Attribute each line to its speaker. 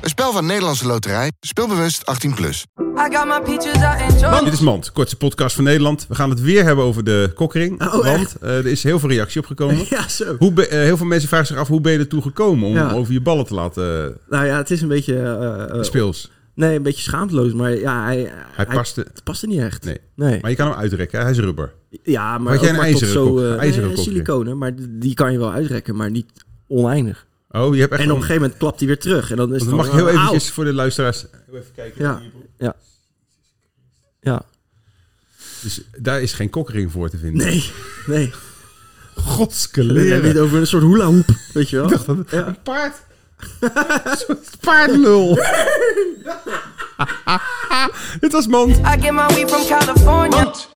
Speaker 1: Een spel van Nederlandse Loterij. Speelbewust 18+. Plus.
Speaker 2: I got my peaches out in Georgia.
Speaker 3: Dit is Mand, kortste podcast van Nederland. We gaan het weer hebben over de kokkering.
Speaker 4: Oh,
Speaker 3: want
Speaker 4: echt?
Speaker 3: eh, er is heel veel reactie op gekomen.
Speaker 4: Ja, zo.
Speaker 3: Hoe be- eh, heel veel mensen vragen zich af, hoe ben je ertoe gekomen om
Speaker 4: Ja.
Speaker 3: over je ballen te laten eh,
Speaker 4: Nou ja, het is een beetje... eh, eh,
Speaker 3: speels?
Speaker 4: nee, een beetje schaamteloos, maar ja, hij...
Speaker 3: Hij paste...
Speaker 4: Het paste niet echt.
Speaker 3: Nee.
Speaker 4: Nee.
Speaker 3: Maar je kan hem uitrekken, hè? hij is rubber.
Speaker 4: ja, maar
Speaker 3: Had jij
Speaker 4: ook
Speaker 3: een
Speaker 4: maar tot
Speaker 3: ijzeren
Speaker 4: zo,
Speaker 3: kok?
Speaker 4: eh, nee,
Speaker 3: IJzeren kokje.
Speaker 4: siliconen, maar die die kan je wel uitrekken, maar niet oneindig.
Speaker 3: Oh, je hebt echt...
Speaker 4: en op
Speaker 3: een-
Speaker 4: een gegeven moment klapt hij weer terug. En dan is
Speaker 3: Want
Speaker 4: het
Speaker 3: dan mag ik
Speaker 4: dan,
Speaker 3: heel
Speaker 4: eh, auw.
Speaker 3: eventjes voor de luisteraars... even kijken.
Speaker 4: Ja, ja. Ja.
Speaker 3: Dus daar is geen kokkering voor te vinden.
Speaker 4: Nee, nee. Dan heb je het
Speaker 3: Godskeleren.
Speaker 4: over een soort hula hoop, weet je wel. ja.
Speaker 3: Een paard. Een soort paardlul. Dit was Mand.
Speaker 2: I get my weed from California.